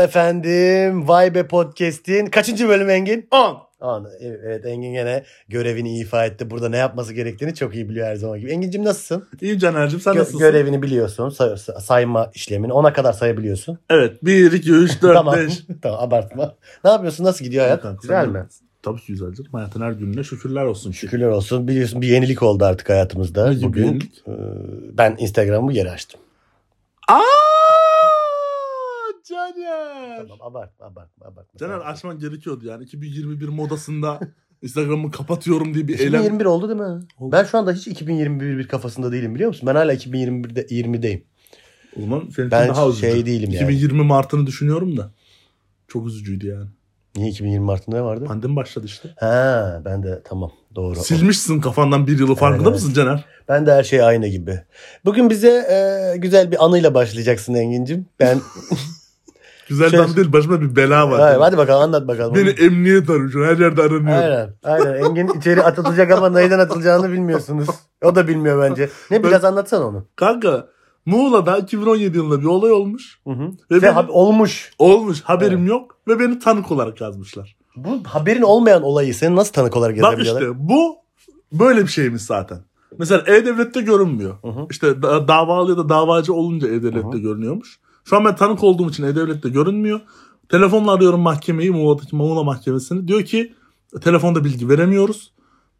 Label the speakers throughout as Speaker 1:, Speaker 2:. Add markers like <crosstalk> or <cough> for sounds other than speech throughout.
Speaker 1: efendim. Vay be podcast'in kaçıncı bölümü Engin?
Speaker 2: 10.
Speaker 1: An- Evet Engin gene görevini ifa etti. Burada ne yapması gerektiğini çok iyi biliyor her zaman gibi. Engin'cim nasılsın?
Speaker 2: İyiyim Caner'cim sen
Speaker 1: Gö-
Speaker 2: nasılsın?
Speaker 1: görevini biliyorsun. Say- sayma işlemini. Ona kadar sayabiliyorsun.
Speaker 2: Evet 1, 2, 3, 4,
Speaker 1: tamam.
Speaker 2: 5.
Speaker 1: <laughs> tamam abartma. Ne yapıyorsun? Nasıl gidiyor hayat? Güzel mi?
Speaker 2: Tabii ki güzel canım. Hayatın her gününe şükürler olsun.
Speaker 1: Şükürler olsun. Biliyorsun bir yenilik oldu artık hayatımızda.
Speaker 2: Ne gibi
Speaker 1: Bugün
Speaker 2: yenilik?
Speaker 1: e, ben Instagram'ımı geri açtım.
Speaker 2: Aa! Caner.
Speaker 1: Tamam abartma abartma abartma.
Speaker 2: Caner
Speaker 1: Tamam.
Speaker 2: açman gerekiyordu yani. 2021 modasında <laughs> Instagram'ı kapatıyorum diye bir eylem.
Speaker 1: 2021 oldu değil mi?
Speaker 2: Oldu.
Speaker 1: Ben şu anda hiç 2021 bir kafasında değilim biliyor musun? Ben hala 2021'de 20'deyim.
Speaker 2: O zaman senin için
Speaker 1: Ben
Speaker 2: daha üzücü.
Speaker 1: şey değilim yani.
Speaker 2: 2020 Mart'ını düşünüyorum da. Çok üzücüydü yani.
Speaker 1: Niye 2020 Mart'ında ne vardı?
Speaker 2: Pandemi başladı işte.
Speaker 1: Ha ben de tamam doğru.
Speaker 2: Silmişsin kafandan bir yılı farkında
Speaker 1: Evet.
Speaker 2: mısın Caner?
Speaker 1: Ben de her şey aynı gibi. Bugün bize e, güzel bir anıyla başlayacaksın Engin'cim.
Speaker 2: <laughs>
Speaker 1: Ben
Speaker 2: Güzelden
Speaker 1: Şey-
Speaker 2: değil başıma bir bela var.
Speaker 1: Hayır, hadi bakalım anlat bakalım.
Speaker 2: Beni emniyet arıyor. şu an, Her yerde aranıyorum.
Speaker 1: Aynen, aynen. Engin içeri atılacak ama neyden atılacağını bilmiyorsunuz. O da bilmiyor bence. Ne biraz anlatsan onu.
Speaker 2: Kanka Muğla'da 2017 yılında bir olay olmuş.
Speaker 1: Hı hı.
Speaker 2: Ve
Speaker 1: Şey,
Speaker 2: benim-
Speaker 1: hab- olmuş.
Speaker 2: Olmuş haberim yok ve beni tanık olarak yazmışlar.
Speaker 1: Bu haberin olmayan olayı seni nasıl tanık olarak
Speaker 2: Bak
Speaker 1: yazabiliyorlar?
Speaker 2: işte bu böyle bir şeymiş zaten. Mesela E-Devlet'te görünmüyor.
Speaker 1: Hı hı.
Speaker 2: İşte da- davalı ya da davacı olunca
Speaker 1: Hı
Speaker 2: E-Devlet'te görünüyormuş. Şu an ben tanık olduğum için E-Devlet'te görünmüyor. Telefonla arıyorum mahkemeyi, Muğla'daki Muğla Mahkemesi'ni. Diyor ki telefonda bilgi veremiyoruz.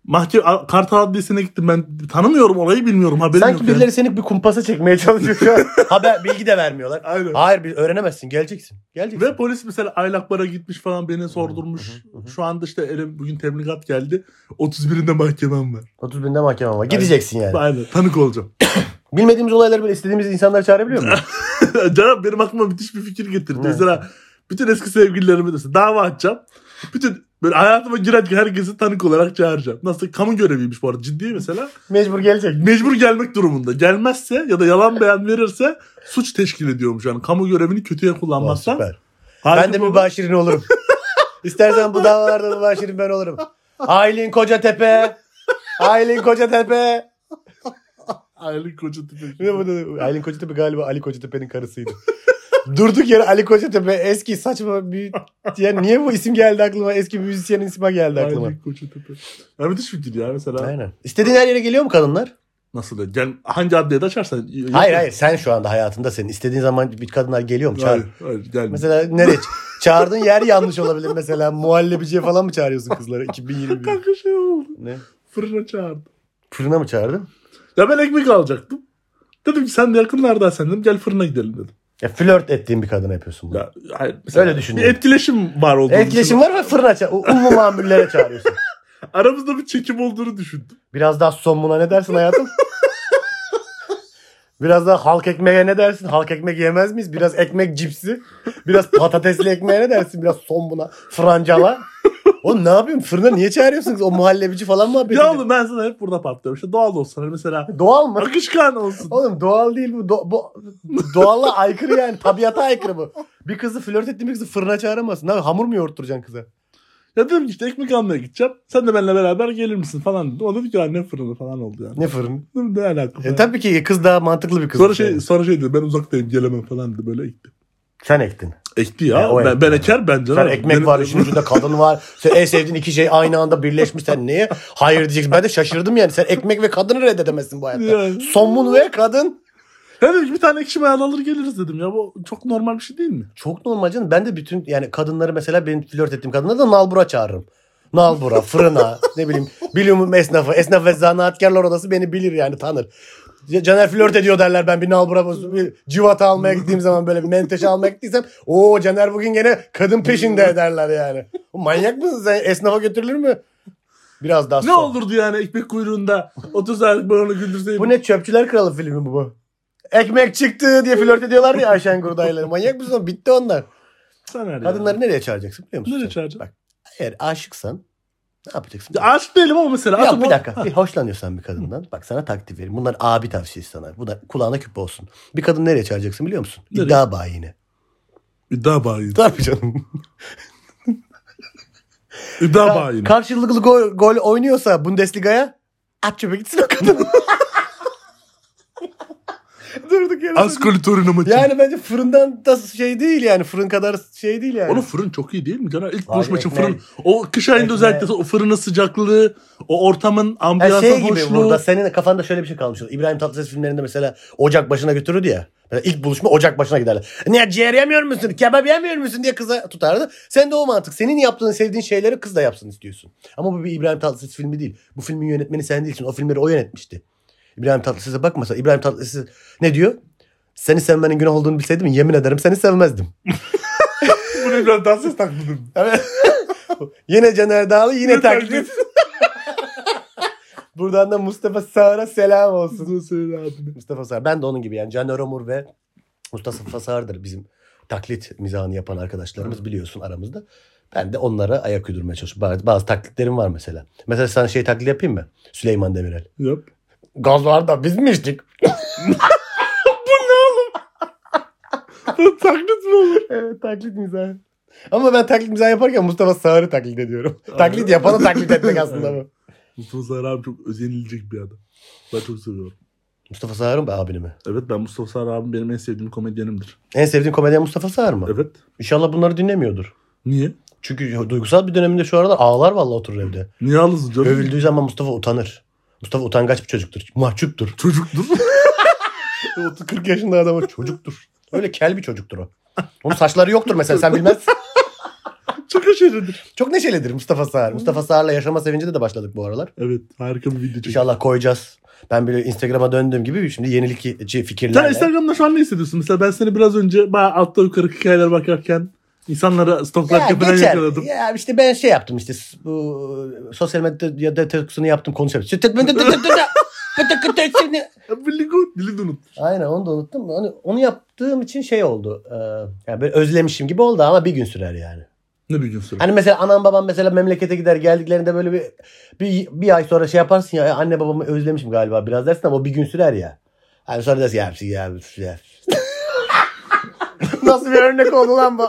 Speaker 2: Mahkeme A- Kartal Adliyesi'ne gittim ben tanımıyorum olayı bilmiyorum haberim yok.
Speaker 1: Sanki
Speaker 2: yani.
Speaker 1: birileri seni bir kumpasa çekmeye çalışıyor şu
Speaker 2: <laughs>
Speaker 1: an. Haber bilgi de vermiyorlar.
Speaker 2: Aynen.
Speaker 1: Hayır bir öğrenemezsin. Geleceksin. Geleceksin.
Speaker 2: Ve polis mesela Aylakbar'a gitmiş falan beni sordurmuş.
Speaker 1: hı, hı.
Speaker 2: Şu anda işte ele, bugün tebligat geldi. 31'inde mahkemem var.
Speaker 1: 30 binde mahkeme var. Gideceksin yani.
Speaker 2: Aynen tanık olacağım. <laughs>
Speaker 1: Bilmediğimiz olayları böyle istediğimiz insanları çağırabiliyor muyuz? <laughs>
Speaker 2: Canım benim aklıma müthiş bir fikir getirdi.
Speaker 1: Ne?
Speaker 2: Mesela bütün eski sevgililerime de dava açacağım. Bütün böyle hayatıma giren herkesi tanık olarak çağıracağım. Nasıl kamu göreviymiş bu arada ciddi mesela.
Speaker 1: Mecbur gelecek.
Speaker 2: Mecbur gelmek durumunda. Gelmezse ya da yalan beyan verirse suç teşkil ediyormuş. Yani kamu görevini kötüye
Speaker 1: Ulan
Speaker 2: kullanmazsan.
Speaker 1: süper.
Speaker 2: Harika
Speaker 1: Ben de
Speaker 2: bir-
Speaker 1: mübaşirin olurum. <laughs> İstersen bu davalarda mübaşirin ben olurum. Aylin Kocatepe. Aylin Kocatepe.
Speaker 2: Aylık koca tüfek.
Speaker 1: Ne bu ne? Aylin Kocatepe galiba Ali Kocatepe'nin karısıydı. Durduk yere Ali Kocatepe eski saçma bir... Yani niye bu isim geldi aklıma? Eski bir müzisyenin ismi geldi aklıma.
Speaker 2: Aylık koca tüfek. Ya müthiş fikir ya mesela.
Speaker 1: Aynen. İstediğin her yere geliyor mu kadınlar?
Speaker 2: Nasıl da? Gel, hangi adliyede açarsan.
Speaker 1: Hayır hayır sen şu anda hayatında senin istediğin zaman bir kadınlar geliyor mu? Çağır.
Speaker 2: Hayır, hayır gelmiyor.
Speaker 1: <laughs> Mesela nereye? ç- Çağırdığın yer yanlış olabilir mesela. Muhallebiciye falan mı çağırıyorsun kızları
Speaker 2: <laughs>
Speaker 1: 2021?
Speaker 2: <laughs> Kanka şey oldu.
Speaker 1: ne?
Speaker 2: Fırına çağırdı.
Speaker 1: Fırına mı çağırdın?
Speaker 2: Ya ben ekmek alacaktım. Dedim ki sen de yakınlardan sen dedim gel fırına gidelim dedim.
Speaker 1: Ya flört ettiğin bir kadına yapıyorsun bunu.
Speaker 2: Ya, hayır, mesela
Speaker 1: Öyle düşündüm.
Speaker 2: Bir etkileşim var olduğunu
Speaker 1: Etkileşim
Speaker 2: düşündüm.
Speaker 1: var ve fırına çağır. Ummu mamullere çağırıyorsun.
Speaker 2: Aramızda bir çekim olduğunu düşündüm.
Speaker 1: Biraz daha somuna ne dersin
Speaker 2: <laughs>
Speaker 1: hayatım? Biraz daha halk ekmeğe ne dersin? Halk ekmek yemez miyiz? Biraz ekmek cipsi. Biraz patatesli ekmeğe ne dersin? Biraz sombuna, francala. Oğlum ne yapıyorsun? Fırına niye çağırıyorsunuz? O muhallebici falan mı
Speaker 2: ya oğlum ben sana hep burada patlıyorum. İşte doğal olsun. Hani mesela
Speaker 1: Doğal mı?
Speaker 2: akışkan olsun.
Speaker 1: Oğlum doğal değil bu. Do- bu doğala aykırı yani. Tabiata aykırı bu. Bir kızı flört ettiğin bir kızı fırına çağıramazsın. Abi hamur mu yoğurtturacaksın kıza?
Speaker 2: Ya dedim ki işte ekmek almaya gideceğim. Sen de benimle beraber gelir misin falan dedi. O dedi ki anne fırını falan oldu yani.
Speaker 1: Ne fırını?
Speaker 2: Dedim, ne alaka?
Speaker 1: E, tabii ki kız daha mantıklı bir kız.
Speaker 2: sonra şey, sonra şey dedi ben uzaktayım gelemem falan dedi böyle ekti.
Speaker 1: Sen ektin.
Speaker 2: Ekti ya.
Speaker 1: Ya, o
Speaker 2: ben,
Speaker 1: ekti.
Speaker 2: ben eker ben canım.
Speaker 1: Sen ekmek
Speaker 2: Benim-
Speaker 1: var,
Speaker 2: <laughs>
Speaker 1: işin ucunda kadın var. Sen en sevdiğin iki şey aynı anda birleşmiş. Sen neye hayır diyeceksin? Ben de şaşırdım yani. Sen ekmek ve kadını reddedemezsin bu hayatta.
Speaker 2: Yani.
Speaker 1: Somun ve kadın.
Speaker 2: Ya dedim ki bir tane ekşi mayalı alır geliriz dedim ya. Bu çok normal bir şey değil mi?
Speaker 1: Çok normal canım. Ben de bütün yani kadınları mesela benim flört ettiğim kadınları da nalbura çağırırım.
Speaker 2: <laughs>
Speaker 1: Nalbura, fırına, ne bileyim bilimum esnafı, esnaf ve zanaatkarlar odası beni bilir yani tanır. C- Caner flört ediyor derler ben bir nalbura bozup bir civata almaya gittiğim zaman böyle bir menteşe almaya gittiysem o Caner bugün gene kadın peşinde ederler yani. O Manyak mısın sen esnafa götürülür mü? Biraz daha
Speaker 2: Ne
Speaker 1: son.
Speaker 2: olurdu yani ekmek kuyruğunda 30 aylık bana güldürseydim.
Speaker 1: Bu ne Çöpçüler Kralı filmi bu bu. Ekmek çıktı diye flört ediyorlar ya Ayşen Gurdayları. Manyak mısın? Bitti onlar.
Speaker 2: Sen her
Speaker 1: Kadınları
Speaker 2: yani.
Speaker 1: nereye çağıracaksın biliyor musun?
Speaker 2: Nereye
Speaker 1: sen?
Speaker 2: çağıracaksın?
Speaker 1: Bak eğer aşıksan ne yapacaksın?
Speaker 2: Ya aşık değilim ama mesela.
Speaker 1: Ya
Speaker 2: atıyorum
Speaker 1: bir
Speaker 2: o-
Speaker 1: dakika.
Speaker 2: Ha,
Speaker 1: Bir hoşlanıyorsan bir kadından. Bak sana taktik vereyim. Bunlar abi tavsiyesi sana. Bunlar kulağına küpe olsun. Bir kadın nereye çağıracaksın biliyor musun?
Speaker 2: Nereye?
Speaker 1: İddia bayine.
Speaker 2: <laughs> İddia
Speaker 1: <laughs>
Speaker 2: bayi.
Speaker 1: Tabii canım.
Speaker 2: İddia bayi.
Speaker 1: Karşılıklı gol, gol oynuyorsa Bundesliga'ya at çöpe gitsin o kadın. <laughs> Durduk yere.
Speaker 2: Az kültürünü mü?
Speaker 1: Yani bence fırından da şey değil yani. Fırın kadar şey değil yani.
Speaker 2: Onun fırın çok iyi değil mi Caner? İlk
Speaker 1: Abi
Speaker 2: buluşma için
Speaker 1: ekmeği-
Speaker 2: fırın. O kış ayında
Speaker 1: ekmeği-
Speaker 2: özellikle o fırının sıcaklığı, o ortamın
Speaker 1: Ya
Speaker 2: ambiyansın
Speaker 1: şey gibi
Speaker 2: hoşluğu. <laughs>
Speaker 1: burada senin kafanda şöyle bir şey kalmış. olur. İbrahim Tatlıses filmlerinde mesela ocak başına götürürdü ya. Mesela ilk buluşma ocak başına giderler. Niye ciğer yemiyor musun? Kebap yemiyor musun diye kıza tutardı. Sen de o mantık. Senin yaptığın sevdiğin şeyleri kız da yapsın istiyorsun. Ama bu bir İbrahim Tatlıses filmi değil. Bu filmin yönetmeni sen değilsin. O filmleri o yönetmişti. İbrahim Tatlıses'e bak mesela. İbrahim Tatlıses ne diyor? Seni sevmenin günah olduğunu bilseydim yemin ederim seni sevmezdim.
Speaker 2: Bunu biraz daha ses taktım.
Speaker 1: <laughs> yine Caner Dağlı yine
Speaker 2: Yine
Speaker 1: taklit. <laughs> Buradan da Mustafa Sağır'a selam olsun.
Speaker 2: Bunu söyle abi.
Speaker 1: Mustafa Sağır. Ben de onun gibi yani. Caner Omur ve Mustafa Sağır'dır bizim taklit mizahını yapan arkadaşlarımız biliyorsun aramızda. Ben de onlara ayak uydurmaya çalışıyorum. Bazı, bazı taklitlerim var mesela. Mesela sana şey taklit yapayım mı? Süleyman Demirel.
Speaker 2: Yap.
Speaker 1: Gazlarda biz mi <laughs> içtik?
Speaker 2: Bu taklit mi olur?
Speaker 1: evet taklit mizahı. Ama ben taklit mizahı yaparken Mustafa Sağır'ı taklit ediyorum. taklit yapanı taklit etmek aslında bu.
Speaker 2: Mustafa Sarı abi çok özenilecek bir adam. Ben çok seviyorum.
Speaker 1: Mustafa Sağır mı be, abini mi?
Speaker 2: Evet ben Mustafa Sarı abi benim en sevdiğim komedyenimdir.
Speaker 1: En sevdiğin komedyen Mustafa Sağır mı?
Speaker 2: Evet.
Speaker 1: İnşallah bunları dinlemiyordur.
Speaker 2: Niye?
Speaker 1: Çünkü duygusal bir döneminde şu aralar ağlar vallahi oturur evde.
Speaker 2: Niye ağlasın canım?
Speaker 1: Övüldüğü zaman Mustafa utanır. Mustafa utangaç bir çocuktur. Mahcuptur.
Speaker 2: Çocuktur.
Speaker 1: 40 yaşında adam o çocuktur. Öyle kel bir çocuktur o. Onun saçları yoktur mesela sen bilmezsin.
Speaker 2: çok aşırıdır.
Speaker 1: <laughs> Çok neşelidir Mustafa Sağır. Mustafa Sağır'la yaşama sevincinde de başladık bu aralar.
Speaker 2: Evet harika bir video çekiyor.
Speaker 1: İnşallah koyacağız. Ben böyle Instagram'a döndüğüm gibi şimdi yenilikçi
Speaker 2: Sen
Speaker 1: fikirlerle.
Speaker 2: Instagram'da şu an ne hissediyorsun? Mesela ben seni biraz önce bayağı altta yukarı hikayeler bakarken insanlara
Speaker 1: Ya,
Speaker 2: stoklarken falan
Speaker 1: geçer.
Speaker 2: yakaladım.
Speaker 1: ya işte ben şey yaptım işte s- bu sosyal medyada detoksunü yaptım konuşabilirim.
Speaker 2: Billy Good. Dili de unut.
Speaker 1: Aynen onu da unuttum. Onu, onu yaptığım için şey oldu. Ee, yani böyle özlemişim gibi oldu ama bir gün sürer yani.
Speaker 2: Ne bir gün süre.
Speaker 1: Hani mesela anam babam mesela memlekete gider geldiklerinde böyle bir, bir, bir ay sonra şey yaparsın ya "Ya anne babamı özlemişim galiba biraz dersin ama o bir gün sürer ya. Hani sonra dersin ya hepsi ya. hepsi ya." <laughs> Nasıl bir örnek oldu lan bu?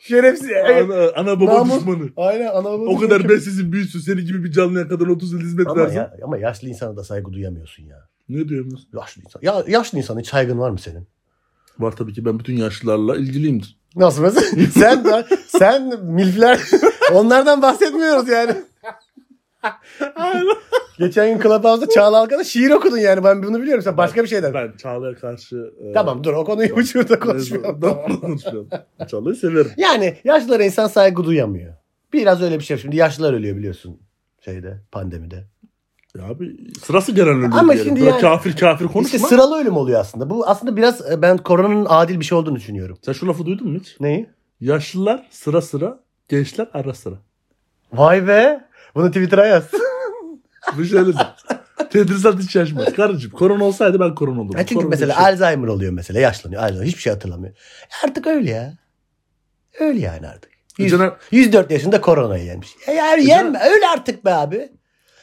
Speaker 1: Şerefsiz. Evet.
Speaker 2: Ana, ana baba
Speaker 1: Namus.
Speaker 2: düşmanı.
Speaker 1: Aynen ana baba.
Speaker 2: O kadar besizin büyüsün seni gibi bir canlıya kadar 30 yıl hizmet
Speaker 1: ama,
Speaker 2: versin.
Speaker 1: ya, ama yaşlı insana da saygı duyamıyorsun ya.
Speaker 2: Ne diyorsunuz?
Speaker 1: Yaşlı insan. Ya, yaşlı insanın hiç saygın var mı senin?
Speaker 2: Var tabii ki ben bütün yaşlılarla ilgiliyimdir.
Speaker 1: Nasıl mesela? <laughs> sen sen milfler <laughs> onlardan bahsetmiyoruz yani. <laughs> Geçen gün Clubhouse'da Çağla Alkan'a şiir okudun yani. Ben bunu biliyorum. Sen başka bir şeyden.
Speaker 2: Ben Çağla'ya karşı... e, <laughs>
Speaker 1: Tamam dur o konuyu bu şurada konuşmayalım. <laughs>
Speaker 2: Tamam, konuşmayalım. Çağla'yı severim.
Speaker 1: Yani yaşlılara insan saygı duyamıyor. Biraz öyle bir şey. Şimdi yaşlılar ölüyor biliyorsun şeyde pandemide.
Speaker 2: Ya abi sırası gelen ölüm
Speaker 1: Ama
Speaker 2: diyelim.
Speaker 1: şimdi
Speaker 2: Böyle
Speaker 1: yani-
Speaker 2: Kafir kafir konuşma.
Speaker 1: İşte sıralı ölüm oluyor aslında. Bu aslında biraz e, ben koronanın adil bir şey olduğunu düşünüyorum.
Speaker 2: Sen şu lafı duydun mu hiç?
Speaker 1: Neyi?
Speaker 2: Yaşlılar sıra sıra, gençler ara sıra.
Speaker 1: Vay be. Bunu Twitter'a yaz.
Speaker 2: Bu şey şöyle
Speaker 1: <laughs>
Speaker 2: Tedrisat hiç şaşmaz. Karıcığım korona olsaydı ben korona olurdum.
Speaker 1: Ya çünkü
Speaker 2: Korona
Speaker 1: mesela
Speaker 2: bir şey.
Speaker 1: Alzheimer oluyor mesela yaşlanıyor. Alzheimer hiçbir şey hatırlamıyor. E Artık öyle ya. Öyle yani artık. Yüz-
Speaker 2: Caner-
Speaker 1: 104 yaşında koronayı yenmiş. E yani
Speaker 2: Caner-
Speaker 1: yenme. Öyle artık be abi.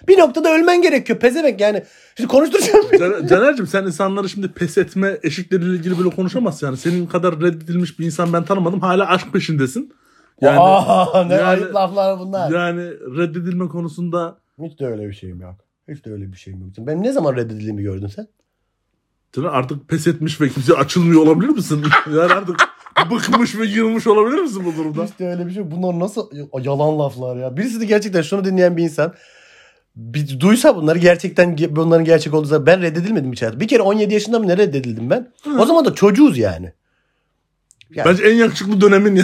Speaker 1: Bir noktada ölmen gerekiyor pezevenk yani. Şimdi konuşturacağım. beni.
Speaker 2: Caner- Caner'cim sen insanları şimdi pes etme eşikleriyle ilgili böyle konuşamazsın yani. Senin kadar reddedilmiş bir insan ben tanımadım. Hala aşk peşindesin. <laughs> Yani,
Speaker 1: Aa, ne
Speaker 2: yani-
Speaker 1: ayıp laflar bunlar.
Speaker 2: yani reddedilme konusunda
Speaker 1: Hiç de öyle bir şeyim yok. Hiç de öyle bir şeyim yok. Benim ne zaman reddedildiğimi gördün sen?
Speaker 2: Caner artık pes etmiş ve kimse açılmıyor olabilir misin? <laughs> yani artık bıkmış ve yılmış olabilir misin bu durumda?
Speaker 1: Hiç de öyle bir şey. Bunlar nasıl Ya- yalan laflar ya. Birisi de gerçekten şunu dinleyen bir insan bir duysa bunları gerçekten ge- bunların gerçek olduğu zaman ben reddedilmedim hiç hayatımda. Bir kere 17 yaşında mı ne reddedildim ben? O zaman da çocuğuz yani. Yani
Speaker 2: Bence en yakışıklı
Speaker 1: <laughs>
Speaker 2: dönemin ya.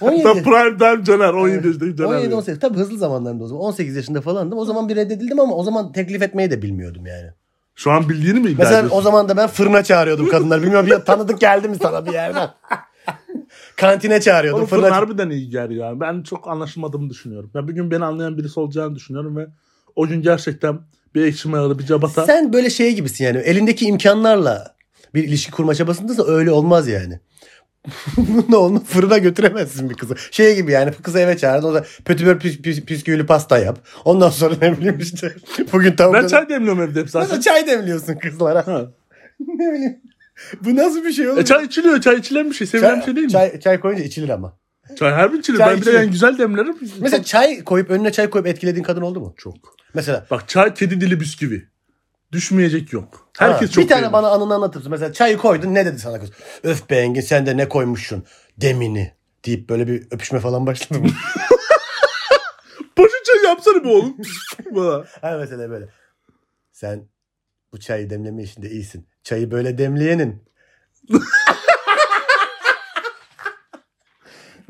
Speaker 1: 17,
Speaker 2: Tam prime time Caner. 17 yaşındaki Caner.
Speaker 1: 17
Speaker 2: yani.
Speaker 1: 18 tabii hızlı zamanlarımda o zaman 18 yaşında falandım. O zaman bir reddedildim ama o zaman teklif etmeyi de bilmiyordum yani.
Speaker 2: Şu an bildiğini mi iddia
Speaker 1: Mesela
Speaker 2: ediyorsun?
Speaker 1: o zaman da ben fırına çağırıyordum kadınlar. Bilmiyorum ya tanıdık geldi mi sana bir yerden? <laughs> Kantine çağırıyordum.
Speaker 2: Oğlum
Speaker 1: Fırına,
Speaker 2: fırın harbiden iyi geliyor. Yani. Ben çok anlaşılmadığımı düşünüyorum. Ya bir gün beni anlayan birisi olacağını düşünüyorum ve o gün gerçekten bir ekşi mayalı bir cabata.
Speaker 1: Sen böyle şey gibisin yani elindeki imkanlarla bir ilişki kurma çabasındasın öyle olmaz yani. <laughs> ne olma fırına götüremezsin bir kızı. Şey gibi yani kızı eve çağırdın o da pötübör püs, püs, püsküvili pasta yap. Ondan sonra <laughs> ne bileyim işte bugün tavuk
Speaker 2: ben
Speaker 1: döner-
Speaker 2: çay demliyorum evde hep
Speaker 1: Nasıl
Speaker 2: zaten.
Speaker 1: çay demliyorsun kızlara? <laughs>
Speaker 2: Ha.
Speaker 1: ne bileyim. Bu nasıl bir şey oğlum?
Speaker 2: E çay içiliyor. Çay içilen bir şey. Sevilen bir şey değil mi? Çay,
Speaker 1: çay, çay koyunca içilir ama.
Speaker 2: harbi içilir.
Speaker 1: Çay
Speaker 2: ben bir de
Speaker 1: içilir.
Speaker 2: yani güzel demlerim.
Speaker 1: Mesela çay koyup önüne çay koyup etkilediğin kadın oldu mu?
Speaker 2: çok.
Speaker 1: Mesela
Speaker 2: Bak çay kedi dili bisküvi. düşmeyecek yok. Herkes
Speaker 1: Ha,
Speaker 2: çok
Speaker 1: Bir tane
Speaker 2: beğenir.
Speaker 1: bana anını anlatırsın. Mesela çayı koydun ne dedi sana kız? Öf be Engin sen de ne koymuşsun demini deyip böyle bir öpüşme falan başladı mı?
Speaker 2: <laughs> Paşa çay yapsana bu oğlum. <laughs> Bana.
Speaker 1: Ha mesela böyle. Sen bu çayı demleme işinde iyisin. Çayı böyle demleyenin.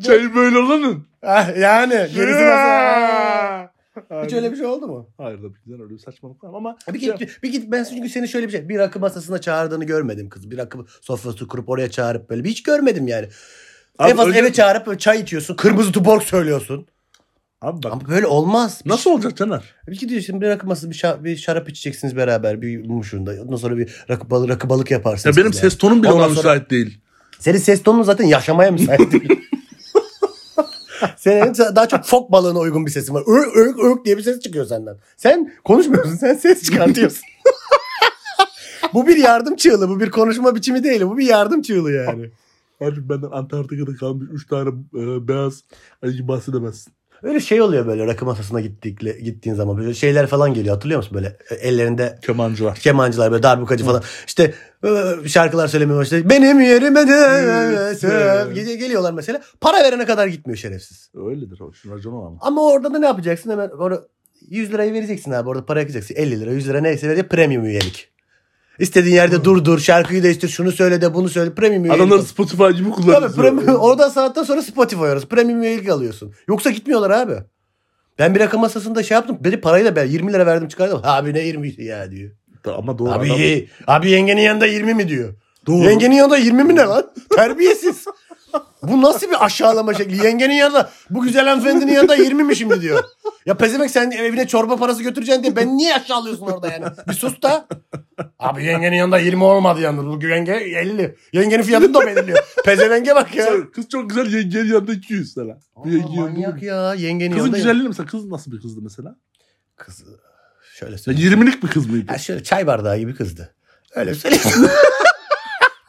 Speaker 2: Çayı böyle olanın.
Speaker 1: Ah yani gerisi
Speaker 2: <laughs>
Speaker 1: nasıl? Hiç
Speaker 2: Aynen.
Speaker 1: öyle bir şey oldu mu?
Speaker 2: Hayır tabii ki de öyle bir saçmalık var ama şey-
Speaker 1: Bir git, bir git ben çünkü seni şöyle bir şey bir rakı masasına çağırdığını görmedim kız. Bir rakı sofrası kurup oraya çağırıp böyle bir hiç görmedim yani.
Speaker 2: Abi
Speaker 1: en fazla
Speaker 2: öyle-
Speaker 1: eve çağırıp böyle çay içiyorsun. Kırmızı tuborg söylüyorsun.
Speaker 2: abi bak
Speaker 1: Ama böyle olmaz. Bir
Speaker 2: nasıl olacak Caner?
Speaker 1: Bir gidiyorsun bir rakı masası bir, şa- bir şarap içeceksiniz beraber bir mumuşunda. Ondan sonra bir rakı, balı, rakı balık
Speaker 2: Ya
Speaker 1: yaparsınız.
Speaker 2: benim
Speaker 1: kızlar.
Speaker 2: ses tonum bile
Speaker 1: Ondan
Speaker 2: ona
Speaker 1: sonra-
Speaker 2: müsait değil.
Speaker 1: Senin ses tonun zaten yaşamaya müsait <laughs> değil. Senin daha çok fok balığına uygun bir sesin var. Örk örk örk diye bir ses çıkıyor senden. Sen konuşmuyorsun sen ses çıkartıyorsun. <laughs> bu bir yardım çığlığı bu bir konuşma biçimi değil bu bir yardım çığlığı yani.
Speaker 2: Abi benden Antarktika'da kalmış 3 tane e, beyaz ayı bahsedemezsin.
Speaker 1: Öyle şey oluyor böyle rakı masasına gittikle, gittiğin zaman böyle şeyler falan geliyor hatırlıyor musun böyle E, ellerinde
Speaker 2: Kemancı var.
Speaker 1: kemancılar böyle darbukacı falan. İşte e, şarkılar söylemeye başladı. Benim yerime de söv. Gece geliyorlar mesela. Para verene kadar gitmiyor şerefsiz.
Speaker 2: Öyledir o. Şuna racon ama.
Speaker 1: Ama orada da ne yapacaksın? Hemen orada 100 lirayı vereceksin abi. Orada para yakacaksın. 50 lira 100 lira neyse verecek premium üyelik. İstediğin yerde dur dur şarkıyı değiştir şunu söyle de bunu söyle premium üyelik.
Speaker 2: Adamlar Spotify gibi
Speaker 1: Tabii,
Speaker 2: kullanıyor.
Speaker 1: premium, oradan saatten sonra Spotify arası premium üyelik alıyorsun. Yoksa gitmiyorlar abi. Ben bir rakı masasında şey yaptım. Beni parayla ben 20 lira verdim çıkardım. <laughs> Abi ne 20 ya diyor.
Speaker 2: Ama doğru.
Speaker 1: Abi,
Speaker 2: adam-
Speaker 1: ye- abi yengenin yanında 20 mi diyor.
Speaker 2: Doğru.
Speaker 1: Yengenin yanında 20 mi ne lan? <laughs> Terbiyesiz. Bu nasıl bir aşağılama şekli? Yengenin yanında bu güzel hanımefendinin yanında 20 mi şimdi diyor. Ya pezemek sen evine çorba parası götüreceksin diye ben niye aşağılıyorsun orada yani? Bir sus da. Abi yengenin yanında 20 olmadı yalnız. Bu yenge 50. Yengenin fiyatını da belirliyor. Pezevenge bak ya.
Speaker 2: Sen- Kız çok güzel yengenin yanında 200 sana.
Speaker 1: Aa,
Speaker 2: Bir yengenin
Speaker 1: manyak
Speaker 2: yanında-
Speaker 1: ya. Yengenin
Speaker 2: Kızın
Speaker 1: yanında.
Speaker 2: güzelliği mesela kız nasıl bir kızdı mesela?
Speaker 1: Kız şöyle
Speaker 2: Ya
Speaker 1: söyleyeyim.
Speaker 2: 20'lik bir kız mıydı?
Speaker 1: Ha, şöyle çay bardağı gibi kızdı.
Speaker 2: <laughs>
Speaker 1: Öyle söyleyeyim. <laughs>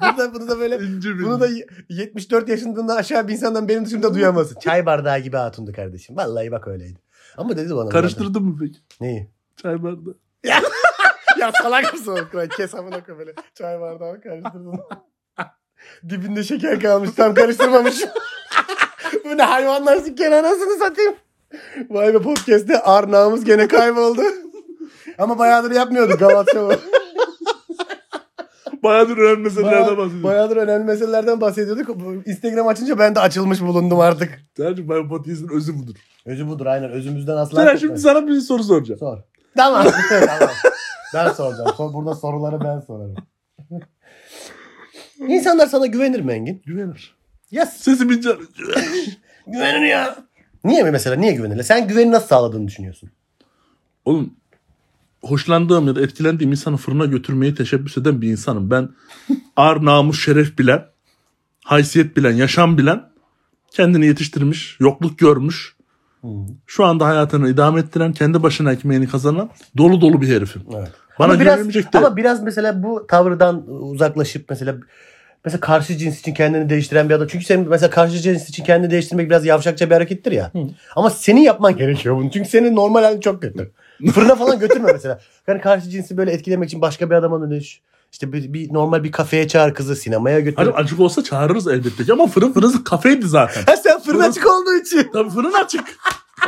Speaker 1: bunu, da, bunu da böyle
Speaker 2: İnce bir.
Speaker 1: Bunu da 74 yaşından aşağı bir insandan benim dışımda duyamazsın. <laughs> Çay bardağı gibi hatundu kardeşim. Vallahi bak öyleydi. Ama dedi bana. zaten-
Speaker 2: karıştırdın mı peki?
Speaker 1: Neyi?
Speaker 2: Çay bardağı.
Speaker 1: <laughs> ya salak mısın oğlum? Ulan Kes amına koy böyle. Çay bardağı <laughs> karıştırdın. Dibinde şeker kalmış. Tam karıştırmamış. <laughs> Bu ne hayvanlar sikken anasını satayım. Vay be podcast'te arnağımız gene kayboldu. <laughs> Ama bayağıdır yapmıyorduk Galatya bu.
Speaker 2: Bayağıdır önemli meselelerden
Speaker 1: Bayağı,
Speaker 2: bahsediyorum.
Speaker 1: bayağıdır önemli meselelerden bahsediyorduk. Bu Instagram açınca ben de açılmış bulundum artık.
Speaker 2: Sadece ben podcast'in özü budur.
Speaker 1: Özü budur aynen. Özümüzden asla.
Speaker 2: Caner şimdi
Speaker 1: kopmayız.
Speaker 2: sana bir soru soracağım.
Speaker 1: Sor. Tamam. <laughs> tamam. Ben soracağım. Sor- burada soruları ben <laughs> sorarım. İnsanlar sana güvenir mi Engin?
Speaker 2: Güvenir.
Speaker 1: Yes.
Speaker 2: Sesim ince.
Speaker 1: Güvenir ya. Niye mi mesela? Niye güvenirler? Sen güveni nasıl sağladığını düşünüyorsun?
Speaker 2: Oğlum hoşlandığım ya da etkilendiğim insanı fırına götürmeyi teşebbüs eden bir
Speaker 1: <laughs>
Speaker 2: insanım. Ben ar, namus, şeref bilen, haysiyet bilen, yaşam bilen, kendini yetiştirmiş, yokluk görmüş, şu anda hayatını idame ettiren, kendi başına ekmeğini kazanan dolu dolu bir herifim.
Speaker 1: Evet.
Speaker 2: Bana
Speaker 1: ama biraz,
Speaker 2: güvenilmeyecek de.
Speaker 1: ama biraz mesela bu tavırdan uzaklaşıp mesela mesela karşı cins için kendini değiştiren bir adam. Çünkü senin mesela karşı cins için kendini değiştirmek biraz yavşakça bir harekettir ya. Ama senin yapman gerekiyor bunu. Çünkü senin normal halin çok kötü. Fırına falan götürme mesela. Yani karşı cinsi böyle etkilemek için başka bir adama dönüş. İşte bir, bir normal bir kafeye çağır kızı, sinemaya götür.
Speaker 2: Hani acık olsa çağırırız elbette ki ama fırın fırın kafeydi zaten.
Speaker 1: Ha sen fırın açık olduğu için.
Speaker 2: Tabii fırın
Speaker 1: <laughs>
Speaker 2: açık.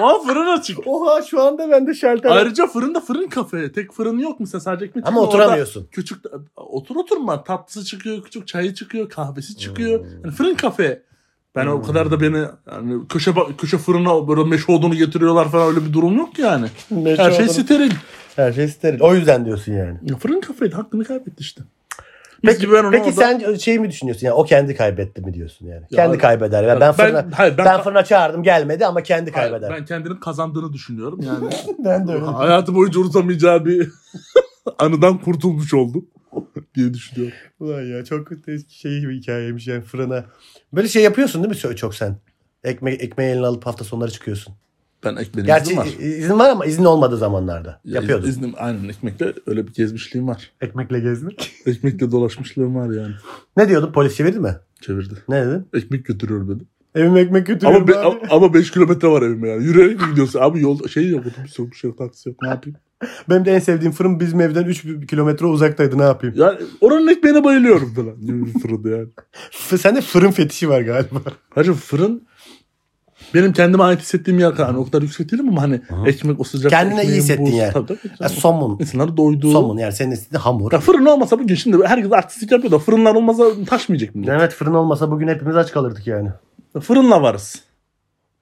Speaker 2: O an fırın açık.
Speaker 1: Oha şu anda bende şalter.
Speaker 2: Ayrıca fırında fırın kafe. Tek fırın yok mu? Sen sadece ekmek
Speaker 1: Ama
Speaker 2: yiyorsun.
Speaker 1: oturamıyorsun.
Speaker 2: Orada Küçük otur oturma. Tatlısı çıkıyor, küçük çayı çıkıyor, kahvesi çıkıyor. Yani fırın kafe. Ben o kadar da beni yani köşe ba- köşe fırına böyle meşe odunu getiriyorlar falan öyle bir durum yok yani.
Speaker 1: Meşe
Speaker 2: Her şey
Speaker 1: odunu.
Speaker 2: steril.
Speaker 1: Her şey steril. O yüzden diyorsun yani.
Speaker 2: Ya fırın kafeydi. Hakkını kaybetti işte. Biz
Speaker 1: Peki,
Speaker 2: gibi ben onu
Speaker 1: peki
Speaker 2: orada-
Speaker 1: sen şey mi düşünüyorsun? Yani o kendi kaybetti mi diyorsun yani?
Speaker 2: Ya
Speaker 1: kendi
Speaker 2: abi-
Speaker 1: kaybeder.
Speaker 2: Ya
Speaker 1: Ben, ben fırına,
Speaker 2: ben- hayır,
Speaker 1: ben,
Speaker 2: ben-
Speaker 1: fırına çağırdım gelmedi ama kendi
Speaker 2: Hayır,
Speaker 1: kaybeder.
Speaker 2: Ben kendinin kazandığını düşünüyorum yani.
Speaker 1: <laughs> ben de
Speaker 2: Hayatı boyunca unutamayacağı bir <laughs> anıdan kurtulmuş oldum <laughs> diye düşünüyorum.
Speaker 1: Ulan ya çok şey bir hikayeymiş yani fırına. Böyle şey yapıyorsun değil mi çok- çok sen? Ekme, ekmeği eline alıp hafta sonları çıkıyorsun.
Speaker 2: Ben ekmeğim
Speaker 1: Gerçi
Speaker 2: izin var.
Speaker 1: i- izin var ama izin olmadığı zamanlarda.
Speaker 2: Ya
Speaker 1: Yapıyordun.
Speaker 2: iz- iznim aynen ekmekle öyle bir gezmişliğim var.
Speaker 1: Ekmekle gezmek.
Speaker 2: Ekmekle dolaşmışlığım var yani.
Speaker 1: <laughs> ne diyordun? Polis çevirdi mi?
Speaker 2: Çevirdi.
Speaker 1: Ne dedin?
Speaker 2: Ekmek götürüyor beni.
Speaker 1: Evime ekmek götürüyorum
Speaker 2: Ama, be, ama 5 kilometre var evime yani. Yürüyerek mi gidiyorsun? Abi yol şey yok otobüs yok bir şey yok taksi yok ne yapayım?
Speaker 1: Benim de en sevdiğim fırın bizim evden 3 kilometre uzaktaydı ne yapayım.
Speaker 2: Yani oranın ekmeğine bayılıyorum falan. Gibi bir fırın yani.
Speaker 1: F- sende fırın fetişi var galiba.
Speaker 2: Hacı fırın benim kendime ait hissettiğim yer kadar. Hani o kadar yüksek değilim ama hani ekmek o sıcak.
Speaker 1: Kendine iyi
Speaker 2: ekmeğin
Speaker 1: hissettiğin
Speaker 2: buz-
Speaker 1: yer.
Speaker 2: Tabii tabii.
Speaker 1: <laughs> Ya, somun.
Speaker 2: İnsanları doyduğu.
Speaker 1: Somun yani senin istediğin hamur.
Speaker 2: Ya fırın olmasa bugün şimdi herkes artistlik yapıyor da fırınlar olmasa taşmayacak mı?
Speaker 1: Evet fırın olmasa bugün hepimiz aç kalırdık yani.
Speaker 2: Fırınla varız.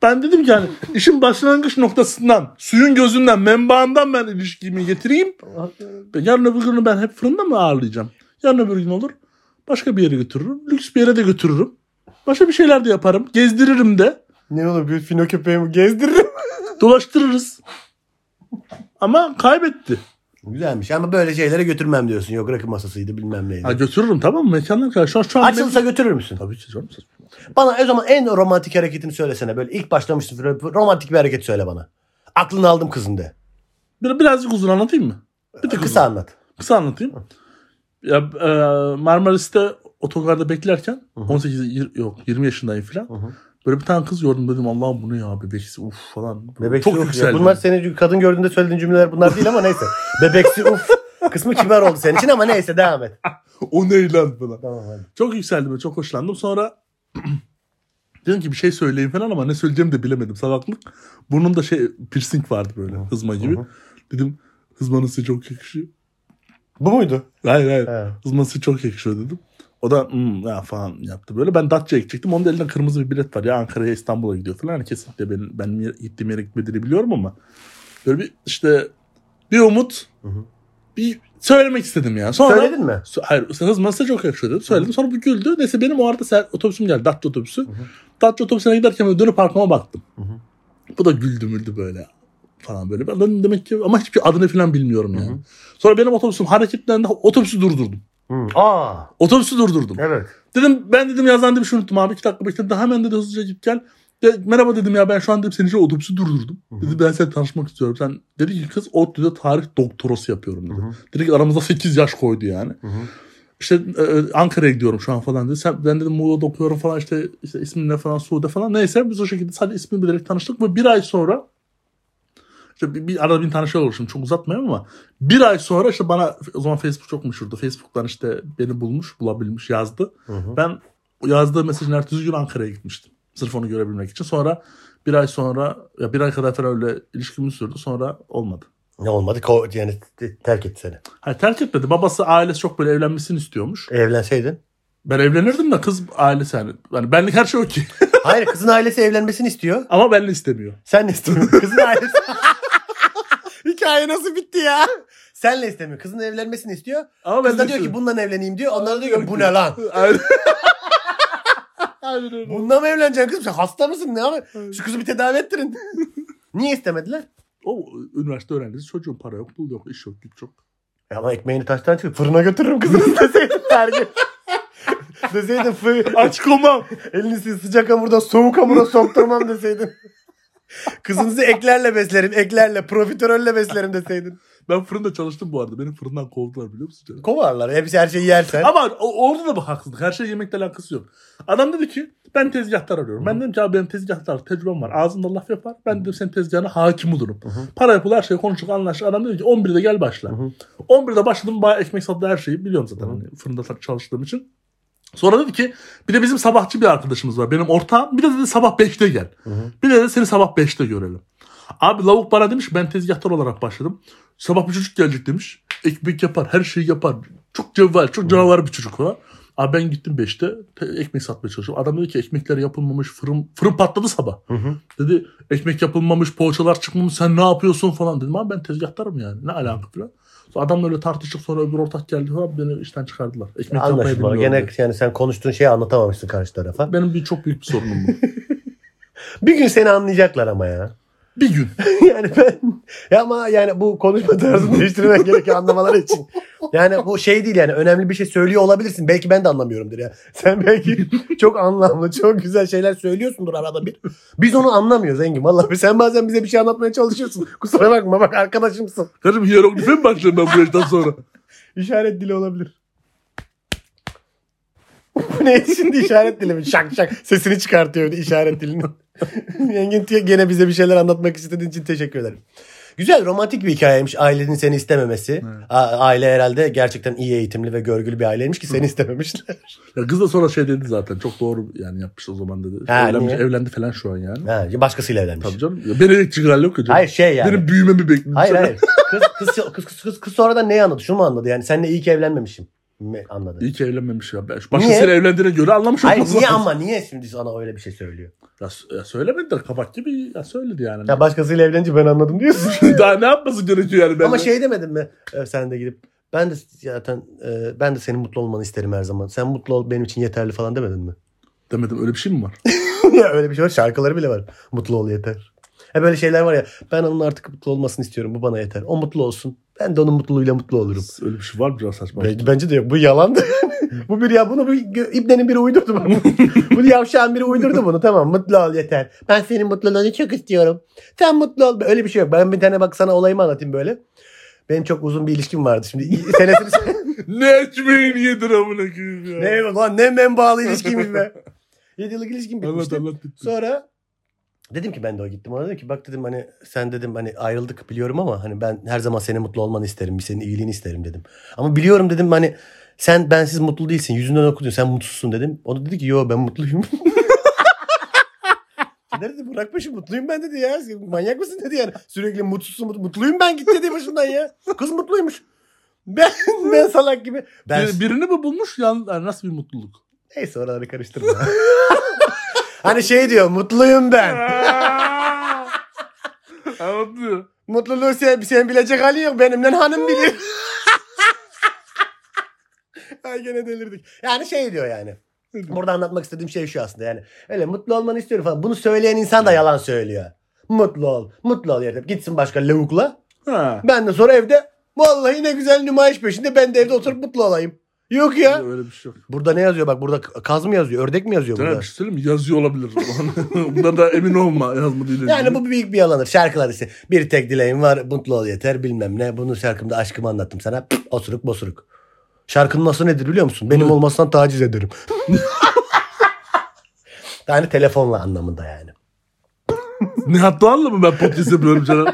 Speaker 2: Ben dedim ki hani işin başlangıç noktasından, suyun gözünden, menbaından ben ilişkimi getireyim. Ben Yarın öbür günü ben hep fırında mı ağırlayacağım? Yarın öbür gün olur. Başka bir yere götürürüm. Lüks bir yere de götürürüm. Başka bir şeyler de yaparım. Gezdiririm de.
Speaker 1: Ne olur bir fino köpeğimi gezdiririm.
Speaker 2: Dolaştırırız. Ama kaybetti.
Speaker 1: <laughs> Güzelmiş ama böyle şeylere götürmem diyorsun. Yok rakı masasıydı bilmem neydi.
Speaker 2: Ha, götürürüm tamam mı? Mekanlar kadar. Şu an, şu an
Speaker 1: Açılsa götürür müsün?
Speaker 2: Tabii ki canım. saçma.
Speaker 1: Bana o zaman en romantik hareketini söylesene. Böyle ilk başlamıştın flört- romantik bir hareket söyle bana. Aklını aldım kızın de.
Speaker 2: Bir, birazcık uzun anlatayım mı? Bir tık uzun.
Speaker 1: Kısa anlat.
Speaker 2: Kısa anlatayım. Ya, e, Marmaris'te otogarda beklerken
Speaker 1: Hı hı.
Speaker 2: 18 yir- yok 20 yaşındayım falan.
Speaker 1: Hı hı.
Speaker 2: Böyle bir tane kız gördüm dedim Allah'ım bu ne ya bebeksi uf falan.
Speaker 1: Bebeksi
Speaker 2: Çok
Speaker 1: uf ya.
Speaker 2: yükseldim.
Speaker 1: Bunlar seni kadın gördüğünde söylediğin cümleler bunlar değil ama <laughs> neyse. Bebeksi uf. Kısmı kibar oldu senin için ama neyse devam et.
Speaker 2: <laughs> O ne lan falan.
Speaker 1: Tamam hadi.
Speaker 2: Çok yükseldim ve çok hoşlandım. Sonra <clears throat> dedim ki bir şey söyleyeyim falan ama ne söyleyeceğimi de bilemedim. Salaklık. Burnumda şey piercing vardı böyle hızma gibi.
Speaker 1: hı.
Speaker 2: Dedim hızmanın size çok yakışıyor.
Speaker 1: Bu muydu?
Speaker 2: Hayır hayır.
Speaker 1: He.
Speaker 2: Hızması çok yakışıyor dedim. O da "Hmm, ya falan yaptı böyle. Ben Datça'ya gidecektim. Onun da elinde kırmızı bir bilet var. Ya Ankara'ya İstanbul'a gidiyor falan. Yani kesinlikle ben, ben yer- gittiğim yere gitmediğini biliyorum ama. Böyle bir işte bir umut.
Speaker 1: Hı hı.
Speaker 2: Bir söylemek istedim ya. Sonra,
Speaker 1: Söyledin mi?
Speaker 2: Sö- Hayır hızması çok yakışıyor dedim. Söyledim. Sonra bu güldü. Neyse benim o arada ser, otobüsüm geldi. Datça otobüsü. Datça otobüsüne giderken böyle dönüp arkama baktım.
Speaker 1: Hı hı.
Speaker 2: Bu da güldü müldü böyle falan böyle. Ben dedim demek ki ama hiçbir adını falan bilmiyorum yani.
Speaker 1: Hı hı.
Speaker 2: Sonra benim otobüsüm hareketlendi. Otobüsü durdurdum.
Speaker 1: Hı. Aa
Speaker 2: Otobüsü durdurdum.
Speaker 1: evet.
Speaker 2: Dedim ben dedim yazdan dedim şunu unuttum abi iki dakika bekledim. Daha hemen dedi hızlıca git gel. De, merhaba dedim ya ben şu an dedim senin için otobüsü durdurdum.
Speaker 1: Hı hı.
Speaker 2: Dedi ben seninle tanışmak istiyorum. Sen dedi ki kız ODTÜ'de tarih doktorası yapıyorum dedi.
Speaker 1: Hı hı.
Speaker 2: Dedi ki aramızda 8 yaş koydu yani.
Speaker 1: Hı hı.
Speaker 2: İşte e, e, Ankara'ya gidiyorum şu an falan dedi. Sen, ben dedim Muğla'da okuyorum falan işte, işte ismin ne falan Suude falan. Neyse biz o şekilde sadece ismini bilerek tanıştık ve bir ay sonra işte bir, bir arada bir tane şey olur şimdi çok uzatmayayım ama bir ay sonra işte bana o zaman Facebook çok meşhurdu. Facebook'tan işte beni bulmuş, bulabilmiş yazdı.
Speaker 1: Hı hı.
Speaker 2: Ben yazdığı mesajın ertesi gün Ankara'ya gitmiştim. Sırf onu görebilmek için. Sonra bir ay sonra ya bir ay kadar falan öyle ilişkimiz sürdü. Sonra olmadı.
Speaker 1: Ne olmadı? Ko- yani te- terk etti seni.
Speaker 2: Hayır terk etmedi. Babası ailesi çok böyle evlenmesini istiyormuş.
Speaker 1: Evlenseydin.
Speaker 2: Ben evlenirdim de kız ailesi yani. yani benlik her şey okey. <laughs>
Speaker 1: Hayır kızın ailesi evlenmesini istiyor.
Speaker 2: Ama benle istemiyor.
Speaker 1: Sen ne <laughs> istemiyorsun? Kızın ailesi. Hikaye nasıl bitti ya? Senle istemiyor. Kızın evlenmesini istiyor.
Speaker 2: Ama
Speaker 1: Kız
Speaker 2: benle
Speaker 1: da diyor ki
Speaker 2: istemiyor.
Speaker 1: bundan evleneyim diyor. Onlar da diyor ki bu ne lan?
Speaker 2: Aynen. <laughs> Aynen öyle.
Speaker 1: Bununla mı evleneceksin kızım? Sen hasta mısın? Ne yapıyorsun? Şu kızı bir tedavi <laughs> ettirin. Niye istemediler?
Speaker 2: O üniversite öğrencisi çocuğun para yok, pul yok, iş yok, güç yok.
Speaker 1: E Ama ekmeğini taştan çıkıp fırına götürürüm <laughs> kızını deseydin dergi. deseydin fı-
Speaker 2: Aç komam.
Speaker 1: elini sı- sıcak hamurdan soğuk hamura sokturmam deseydin. <laughs> Kızınızı eklerle beslerim, eklerle, profiterolle beslerim deseydin.
Speaker 2: Ben fırında çalıştım bu arada. Beni fırından kovdular biliyor musun? canım?
Speaker 1: Kovarlar. Hepsi her şeyi yersen.
Speaker 2: Ama o- orada da bu haksızlık. Her şey yemekle alakası yok. Adam dedi ki ben tezgahtar arıyorum. Ben dedim ki abi benim tezgahtar tecrübem var. Ağzımda laf yapar. Ben dedim senin tezgahına hakim olurum. Para yapılır her şeyi konuştuk anlaştık. Adam dedi ki 11'de gel başla. 11'de başladım bayağı ekmek sattı her şeyi biliyorum zaten. Hani fırında sa- çalıştığım için. Sonra dedi ki bir de bizim sabahçı bir arkadaşımız var. Benim ortağım. Bir de dedi sabah 5'te gel. Bir de dedi seni sabah 5'te görelim. Abi lavuk bana demiş ki, ben tezgahtar olarak başladım. Sabah bir çocuk gelecek demiş. Ekmek yapar, her şeyi yapar. Çok cevval, çok canavar bir çocuk falan. Abi ben gittim 5'te te- ekmek satmaya çalışıyorum. Adam dedi ki ekmekler yapılmamış, fırın fırın patladı sabah. Dedi ekmek yapılmamış, poğaçalar çıkmamış, sen ne yapıyorsun falan dedim. Abi ben tezgahtarım yani, ne alaka falan. Sonra adamla öyle tartıştık sonra öbür ortak geldi falan beni işten çıkardılar. Ekmek yapmayı
Speaker 1: Anlaşılmalı.
Speaker 2: bilmiyorum.
Speaker 1: Gene
Speaker 2: dedi.
Speaker 1: yani sen konuştuğun şeyi anlatamamışsın karşı tarafa.
Speaker 2: Benim bir çok büyük bir sorunum bu.
Speaker 1: Bir gün seni anlayacaklar ama ya.
Speaker 2: bir gün.
Speaker 1: <laughs> yani ben ya ama yani bu konuşma tarzını değiştirmen gerekiyor anlamaları için. Yani bu şey değil yani önemli bir şey söylüyor olabilirsin. Belki ben de anlamıyorumdur ya. <laughs> Sen belki çok anlamlı, çok güzel şeyler söylüyorsundur arada bir. Biz onu anlamıyoruz Engin. Vallahi sen bazen bize bir şey anlatmaya çalışıyorsun. Kusura bakma bak arkadaşımsın.
Speaker 2: Karım hieroglife mi başlayayım ben bu yaştan sonra?
Speaker 1: İşaret dili olabilir. <laughs> Bu ne şimdi işaret dili mi? Şak şak sesini çıkartıyor bir de işaret dilini. <laughs> Yengin diye gene bize bir şeyler anlatmak istediğin için teşekkür ederim. Güzel romantik bir hikayeymiş ailenin seni istememesi. A- Aile herhalde gerçekten iyi eğitimli ve görgülü bir aileymiş ki seni istememişler.
Speaker 2: Ya kız da sonra şey dedi zaten. Çok doğru yani yapmış o zaman dedi.
Speaker 1: Ha,
Speaker 2: evlenmiş,
Speaker 1: niye?
Speaker 2: evlendi falan şu an yani.
Speaker 1: ha, başkasıyla evlenmiş.
Speaker 2: Tabii canım. Ya Benedict Cumberbatch yok ya canım.
Speaker 1: Hayır şey yani.
Speaker 2: Benim büyümemi bekliyor.
Speaker 1: Hayır <laughs> hayır. Kız kız, kız, kız, kız, kız sonradan neyi anladı? Şunu mu anladı? Yani seninle iyi ki evlenmemişim. Mi anladı?
Speaker 2: İyi ki evlenmemiş ya. Ben şu Başkasıyla evlendiğine göre anlamış
Speaker 1: Hayır
Speaker 2: olmaz
Speaker 1: niye
Speaker 2: lazım.
Speaker 1: ama niye şimdi sana öyle bir şey söylüyor?
Speaker 2: Ya, s- ya söylemediler kabak gibi ya söyledi yani.
Speaker 1: Ya başkasıyla evlenince ben anladım diyorsun.
Speaker 2: <laughs> Daha ne yapması gerekiyor yani? Ben
Speaker 1: ama şey demedin mi e, sen de gidip ben de zaten e, ben de senin mutlu olmanı isterim her zaman. Sen mutlu ol benim için yeterli falan demedin mi? <laughs>
Speaker 2: Demedim öyle bir şey mi var?
Speaker 1: Ya öyle bir şey var. Şarkıları bile var. Mutlu ol yeter. Ha böyle şeyler var ya. Ben onun artık mutlu olmasını istiyorum. Bu bana yeter. O mutlu olsun. Ben de onun mutluluğuyla mutlu olurum.
Speaker 2: öyle bir şey var mı biraz saçma?
Speaker 1: Bence, bence de yok. Bu yalandı. <laughs> bu bir ya bunu bir gö- ibnenin biri uydurdu bana. bunu yavşağın biri uydurdu bunu. Tamam mutlu ol yeter. Ben senin mutluluğunu çok istiyorum. Sen mutlu ol. Öyle bir şey yok. Ben bir tane bak sana olayımı anlatayım böyle. Benim çok uzun bir ilişkim vardı. Şimdi senesini
Speaker 2: <laughs> ne ekmeğin yedin amına koyayım ya.
Speaker 1: ne lan ne menbaalı ilişkiymiş be. 7 yıllık ilişkim
Speaker 2: Anlat
Speaker 1: bitmişti.
Speaker 2: anlat bitti.
Speaker 1: Sonra dedim ki ben de o gittim ona dedim ki bak dedim hani sen dedim hani ayrıldık biliyorum ama hani ben her zaman senin mutlu olmanı isterim. Senin iyiliğini isterim dedim. Ama biliyorum dedim hani sen bensiz mutlu değilsin. Yüzünden okudun sen mutsuzsun dedim. O da dedi ki yo ben mutluyum. <laughs> Nerede Burak Paşa mutluyum ben dedi ya. Manyak mısın dedi yani. Sürekli mutsuzsun mutlu- mutluyum ben git dedi başımdan ya. Kız mutluymuş. Ben, ben salak gibi. Ben
Speaker 2: Bir- birini mi bulmuş? Yan, yani nasıl bir mutluluk?
Speaker 1: Neyse oraları karıştırma. <laughs> hani şey diyor mutluyum ben.
Speaker 2: <laughs> Anlatıyor.
Speaker 1: Mutluluğu sen, sen bilecek halin yok. Benimle hanım biliyor. Ay gene delirdik. Yani şey diyor yani. Burada anlatmak istediğim şey şu aslında yani. Öyle mutlu olmanı istiyorum falan. Bunu söyleyen insan da yalan söylüyor. Mutlu ol. Mutlu ol yeter. Gitsin başka lavukla.
Speaker 2: Ha.
Speaker 1: Ben de sonra evde vallahi ne güzel nümayiş peşinde ben de evde oturup mutlu olayım. Yok ya.
Speaker 2: Öyle bir şey yok.
Speaker 1: Burada ne yazıyor bak burada kaz mı yazıyor ördek mi yazıyor
Speaker 2: Sana
Speaker 1: burada?
Speaker 2: bir şey söyleyeyim mi? Yazıyor olabilir. <laughs> Bundan da emin olma yazmadığıyla.
Speaker 1: Yani
Speaker 2: ilgili.
Speaker 1: bu büyük bir yalanır. Şarkılar ise bir tek dileğim var mutlu ol yeter bilmem ne. Bunu şarkımda aşkımı anlattım sana. Pıt, osuruk bosuruk. Şarkının aslı nedir biliyor musun? Benim
Speaker 2: Ne?
Speaker 1: olmasından taciz ederim. <laughs> yani telefonla anlamında yani.
Speaker 2: Nihat Doğan'la mı ben podcast yapıyorum canım?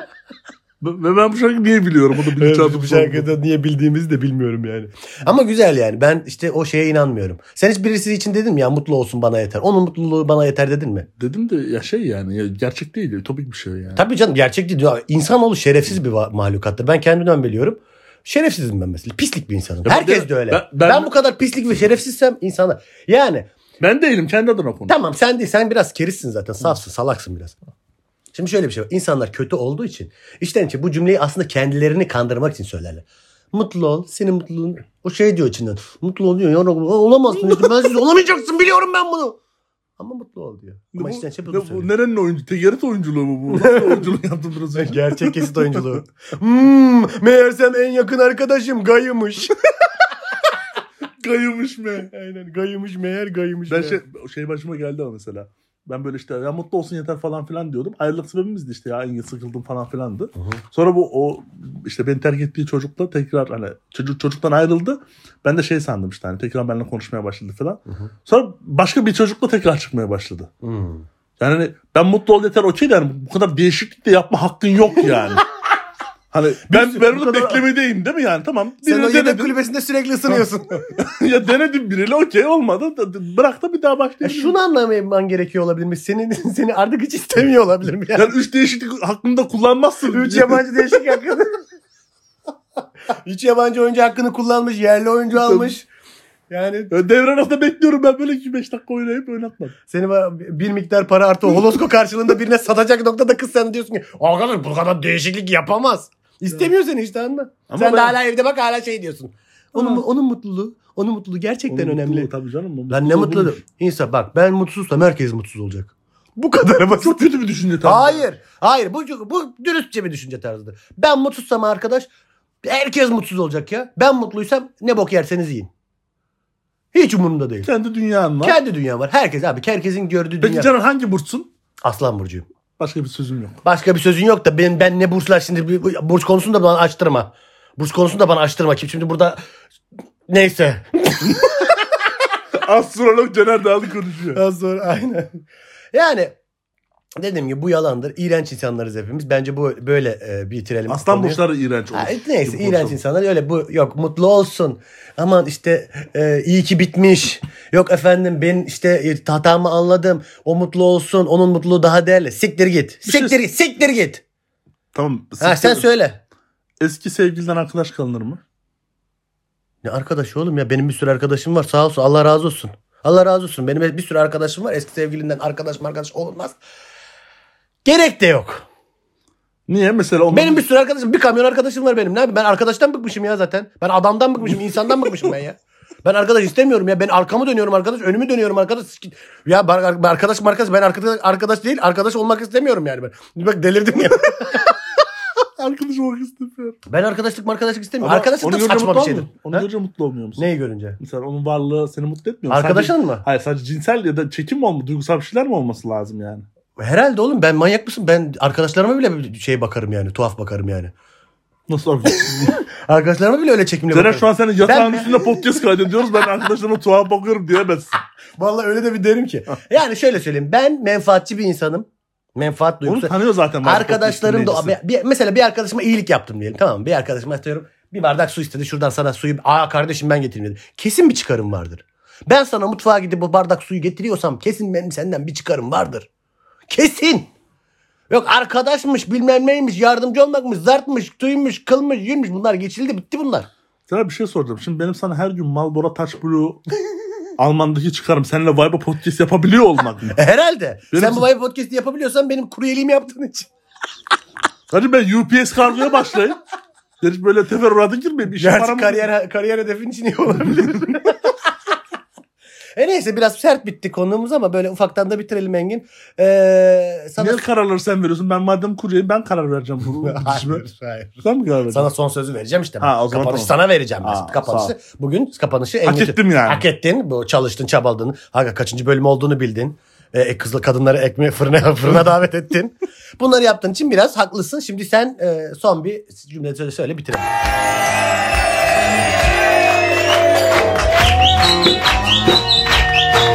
Speaker 2: Ve ben bu şarkıyı niye biliyorum? O da bilinçaltı
Speaker 1: bu şarkıda niye bildiğimizi de bilmiyorum yani. Ama güzel yani. Ben işte o şeye inanmıyorum. Sen hiç birisi için dedin mi ya mutlu olsun bana yeter. Onun mutluluğu bana yeter dedin mi?
Speaker 2: Dedim de ya şey yani ya gerçek değil. Ütopik bir şey yani.
Speaker 1: Tabii canım gerçek değil. Ya İnsanoğlu şerefsiz bir va- mahlukattır. Ben kendimden biliyorum. Şerefsizim ben mesela. Pislik bir insanım.
Speaker 2: Ya ben
Speaker 1: Herkes
Speaker 2: de-
Speaker 1: de öyle.
Speaker 2: ben-
Speaker 1: Ben,
Speaker 2: ben-
Speaker 1: bu kadar pislik ve şerefsizsem insana. Yani
Speaker 2: Ben değilim kendi adına konu.
Speaker 1: tamam sen değil. Sen biraz kerizsin zaten. Safsın, salaksın biraz. Şimdi şöyle bir şey var. İnsanlar kötü olduğu için içten içe bu cümleyi aslında kendilerini kandırmak için söylerler. Mutlu ol. Senin mutluluğun. O şey diyor içinden. Mutlu ol diyor. Ya Rabbi, olamazsın.
Speaker 2: <laughs>
Speaker 1: Işte. Ben siz olamayacaksın. Biliyorum ben bunu. Ama mutlu ol diyor.
Speaker 2: Ne
Speaker 1: Ama
Speaker 2: bu-
Speaker 1: içten içe
Speaker 2: ne
Speaker 1: bunu
Speaker 2: bu-
Speaker 1: söylüyor.
Speaker 2: nerenin oyuncu? Tegerit
Speaker 1: <laughs>
Speaker 2: oyunculuğu mu bu? Nasıl oyunculuğu yaptın biraz önce?
Speaker 1: Gerçek kesit oyunculuğu. Hmm, meğersem en yakın arkadaşım
Speaker 2: <laughs>
Speaker 1: gayımış.
Speaker 2: Kayımış mı?
Speaker 1: Aynen gayımış meğer gayımış.
Speaker 2: Ben
Speaker 1: meğer.
Speaker 2: şey, şey başıma geldi ama mesela. Ben böyle işte ya mutlu olsun yeter falan filan diyordum. Ayrılık sebebimizdi işte ya en sıkıldım falan filandı.
Speaker 1: Hı hı.
Speaker 2: Sonra bu o işte beni terk ettiği çocukla tekrar hani çocuk çocuktan ayrıldı. Ben de şey sandım işte hani tekrar benimle konuşmaya başladı falan.
Speaker 1: hı.
Speaker 2: Sonra başka bir çocukla tekrar çıkmaya başladı.
Speaker 1: Hmm.
Speaker 2: Yani hani ben mutlu ol yeter okey de hani bu kadar değişiklik de yapma hakkın
Speaker 1: <laughs>
Speaker 2: yok yani. hani ben, ben
Speaker 1: bu
Speaker 2: onu
Speaker 1: kadar-
Speaker 2: beklemedeyim değil mi yani tamam.
Speaker 1: Sen o
Speaker 2: birini
Speaker 1: yedek
Speaker 2: denedim.
Speaker 1: kulübesinde sürekli ısınıyorsun.
Speaker 2: <laughs> ya denedim biriyle okey olmadı. Da- da- Bırak da bir daha
Speaker 1: Ya
Speaker 2: başlayabilirim.
Speaker 1: E Şunu anlamaman gerekiyor olabilir mi? Senin, <laughs> seni artık hiç istemiyor olabilir mi? Yani
Speaker 2: Yani üç değişiklik hakkında kullanmazsın.
Speaker 1: üç yabancı değişik hakkını. Üç yabancı oyuncu hakkını kullanmış. Yerli oyuncu almış. Yani
Speaker 2: <laughs> Ya Devre arasında bekliyorum ben böyle 2-5 dakika oynayıp oynatmam.
Speaker 1: seni ba- bir miktar para artı holosko karşılığında birine satacak noktada kız sen diyorsun ki arkadaş bu kadar değişiklik yapamaz. İstemiyor seni işte anla.
Speaker 2: Ama
Speaker 1: sen de
Speaker 2: ben-
Speaker 1: hala evde bak hala şey diyorsun. Onun,
Speaker 2: Ama-
Speaker 1: onun mutluluğu, onun mutluluğu gerçekten
Speaker 2: Onun
Speaker 1: önemli.
Speaker 2: mutluluğu tabii canım. o
Speaker 1: Ben ne
Speaker 2: mutluluğu
Speaker 1: mutlu.
Speaker 2: bulmuş.
Speaker 1: İnsan bak ben mutsuzsam herkes mutsuz olacak. Bu kadar basit.
Speaker 2: Çok kötü bir düşünce tabii.
Speaker 1: Hayır. Hayır. Bu, bu dürüstçe bir düşünce tarzıdır. Ben mutsuzsam arkadaş herkes mutsuz olacak ya. Ben mutluysam ne bok yerseniz yiyin. Hiç umurumda değil.
Speaker 2: Kendi dünyan var.
Speaker 1: Kendi dünya var. Herkes abi. Herkesin gördüğü
Speaker 2: Peki
Speaker 1: dünya.
Speaker 2: canım hangi burçsun?
Speaker 1: Aslan burcuyum.
Speaker 2: Başka bir
Speaker 1: <laughs>
Speaker 2: sözüm yok.
Speaker 1: Başka bir sözün yok da ben, ben ne burçlar şimdi bir- bu- burç konusunu da bana açtırma. Burç konusunu da bana açtırma. Kim şimdi burada neyse.
Speaker 2: Astrolog Caner Dağlı konuşuyor.
Speaker 1: <laughs> Az sonra aynen. Yani Dedim ki bu yalandır. İğrenç insanlarız hepimiz. Bence bu böyle e, bitirelim. bu
Speaker 2: Aslan
Speaker 1: konuyu.
Speaker 2: burçları iğrenç olur.
Speaker 1: Ha, neyse
Speaker 2: Gibi
Speaker 1: iğrenç
Speaker 2: konuşalım.
Speaker 1: insanlar öyle bu yok mutlu olsun. Aman işte e, iyi ki bitmiş. Yok efendim ben işte e, hatamı anladım. O mutlu olsun. Onun mutluluğu daha değerli. Siktir git.
Speaker 2: şey-
Speaker 1: Siktir git. Siktir git.
Speaker 2: Tamam.
Speaker 1: Ha sen
Speaker 2: siktir-
Speaker 1: söyle.
Speaker 2: Eski sevgiliden arkadaş kalınır mı?
Speaker 1: Ne arkadaş oğlum ya benim bir sürü arkadaşım var sağ olsun Allah razı olsun. Allah razı olsun benim bir sürü arkadaşım var eski sevgilinden arkadaş arkadaş olmaz. Gerek de yok.
Speaker 2: Niye? Mesela onun... <laughs>
Speaker 1: Benim bir sürü arkadaşım bir kamyon arkadaşım var benim. Ne yapayım? Ben arkadaştan bıkmışım ya zaten. Ben adamdan bıkmışım, insandan bıkmışım ben ya. Ben arkadaş istemiyorum ya. Ben arkamı dönüyorum arkadaş, önümü dönüyorum arkadaş. Ya bar- bar- arkadaş markası ben arkadaş arkadaş değil, arkadaş olmak istemiyorum yani ben. Bak delirdim ya.
Speaker 2: arkadaş olmak istemiyorum.
Speaker 1: ben arkadaşlık arkadaşlık
Speaker 2: Ama
Speaker 1: istemiyorum. Arkadaşlık
Speaker 2: onu
Speaker 1: da
Speaker 2: görünce
Speaker 1: saçma
Speaker 2: mutlu
Speaker 1: bir şeydir.
Speaker 2: olmuyor musun? Onu
Speaker 1: Ha?
Speaker 2: görünce mutlu olmuyor musun?
Speaker 1: Neyi görünce?
Speaker 2: Mesela onun varlığı seni mutlu etmiyor mu?
Speaker 1: Arkadaşın
Speaker 2: Sadece-
Speaker 1: mı?
Speaker 2: Hayır sadece cinsel ya da çekim mi olma, duygusal bir şeyler mi olması lazım yani?
Speaker 1: Herhalde oğlum ben manyak mısın? Ben arkadaşlarıma bile bir şey bakarım yani. Tuhaf bakarım yani. <laughs>
Speaker 2: Nasıl arkadaşlar?
Speaker 1: Arkadaşlarıma bile öyle çekimle
Speaker 2: Ceren
Speaker 1: bakarım.
Speaker 2: şu an senin yatağın
Speaker 1: Ben-
Speaker 2: üstünde <laughs> podcast kaydediyoruz. Ben arkadaşlarıma tuhaf bakıyorum diyemezsin.
Speaker 1: Vallahi öyle de bir derim
Speaker 2: <laughs>
Speaker 1: ki. Yani şöyle söyleyeyim. Ben menfaatçi bir insanım. Menfaat
Speaker 2: Onu
Speaker 1: duygusu.
Speaker 2: tanıyor zaten. ben
Speaker 1: Arkadaşlarım da
Speaker 2: podcast'in
Speaker 1: bir- mesela bir arkadaşıma iyilik yaptım diyelim tamam mı? Bir arkadaşıma atıyorum bir bardak su istedi şuradan sana suyu aa kardeşim ben getireyim dedi. Kesin bir çıkarım vardır. Ben sana mutfağa gidip bu bardak suyu getiriyorsam kesin benim senden bir çıkarım vardır. Kesin. Yok arkadaşmış bilmem neymiş yardımcı olmakmış zartmış tuymuş kılmış yürümüş bunlar geçildi bitti bunlar.
Speaker 2: Sana bir şey soracağım. Şimdi benim sana her gün Malbora Taş Blue <laughs> Alman'daki çıkarım. Seninle Vibe podcast
Speaker 1: <laughs>
Speaker 2: yapabiliyor olmak mı?
Speaker 1: E, herhalde.
Speaker 2: Benim-
Speaker 1: Sen bu Vibe podcast'i yapabiliyorsan benim kuryeliğimi yaptığın için.
Speaker 2: Hadi ben UPS kargoya başlayayım. Hiç böyle teferruata girmeyeyim. İşe
Speaker 1: Gerçi
Speaker 2: paramı-
Speaker 1: kariyer, kariyer hedefin için iyi olabilir. <laughs> e neyse biraz sert bitti konuğumuz ama böyle ufaktan da bitirelim Engin. Ee, sana...
Speaker 2: Niye kararları sen veriyorsun? Ben madem kuryeyim ben karar vereceğim. Bu işime.
Speaker 1: <laughs> hayır, hayır.
Speaker 2: sen mi karar vereceksin?
Speaker 1: Sana son sözü vereceğim işte.
Speaker 2: Ha, o zaman
Speaker 1: kapanışı
Speaker 2: tamam.
Speaker 1: sana vereceğim. ben.
Speaker 2: Aa, sağ
Speaker 1: kapanışı. Bugün kapanışı
Speaker 2: Hak
Speaker 1: Engin-
Speaker 2: ettim yani.
Speaker 1: Hak ettin. Bu çalıştın, çabaladın. Hakikaten kaçıncı bölüm olduğunu bildin. E, kızlı kadınları ekmeğe fırına <laughs> fırına davet ettin. Bunları yaptığın için biraz haklısın. Şimdi sen e, son bir cümle söyle, söyle bitirelim.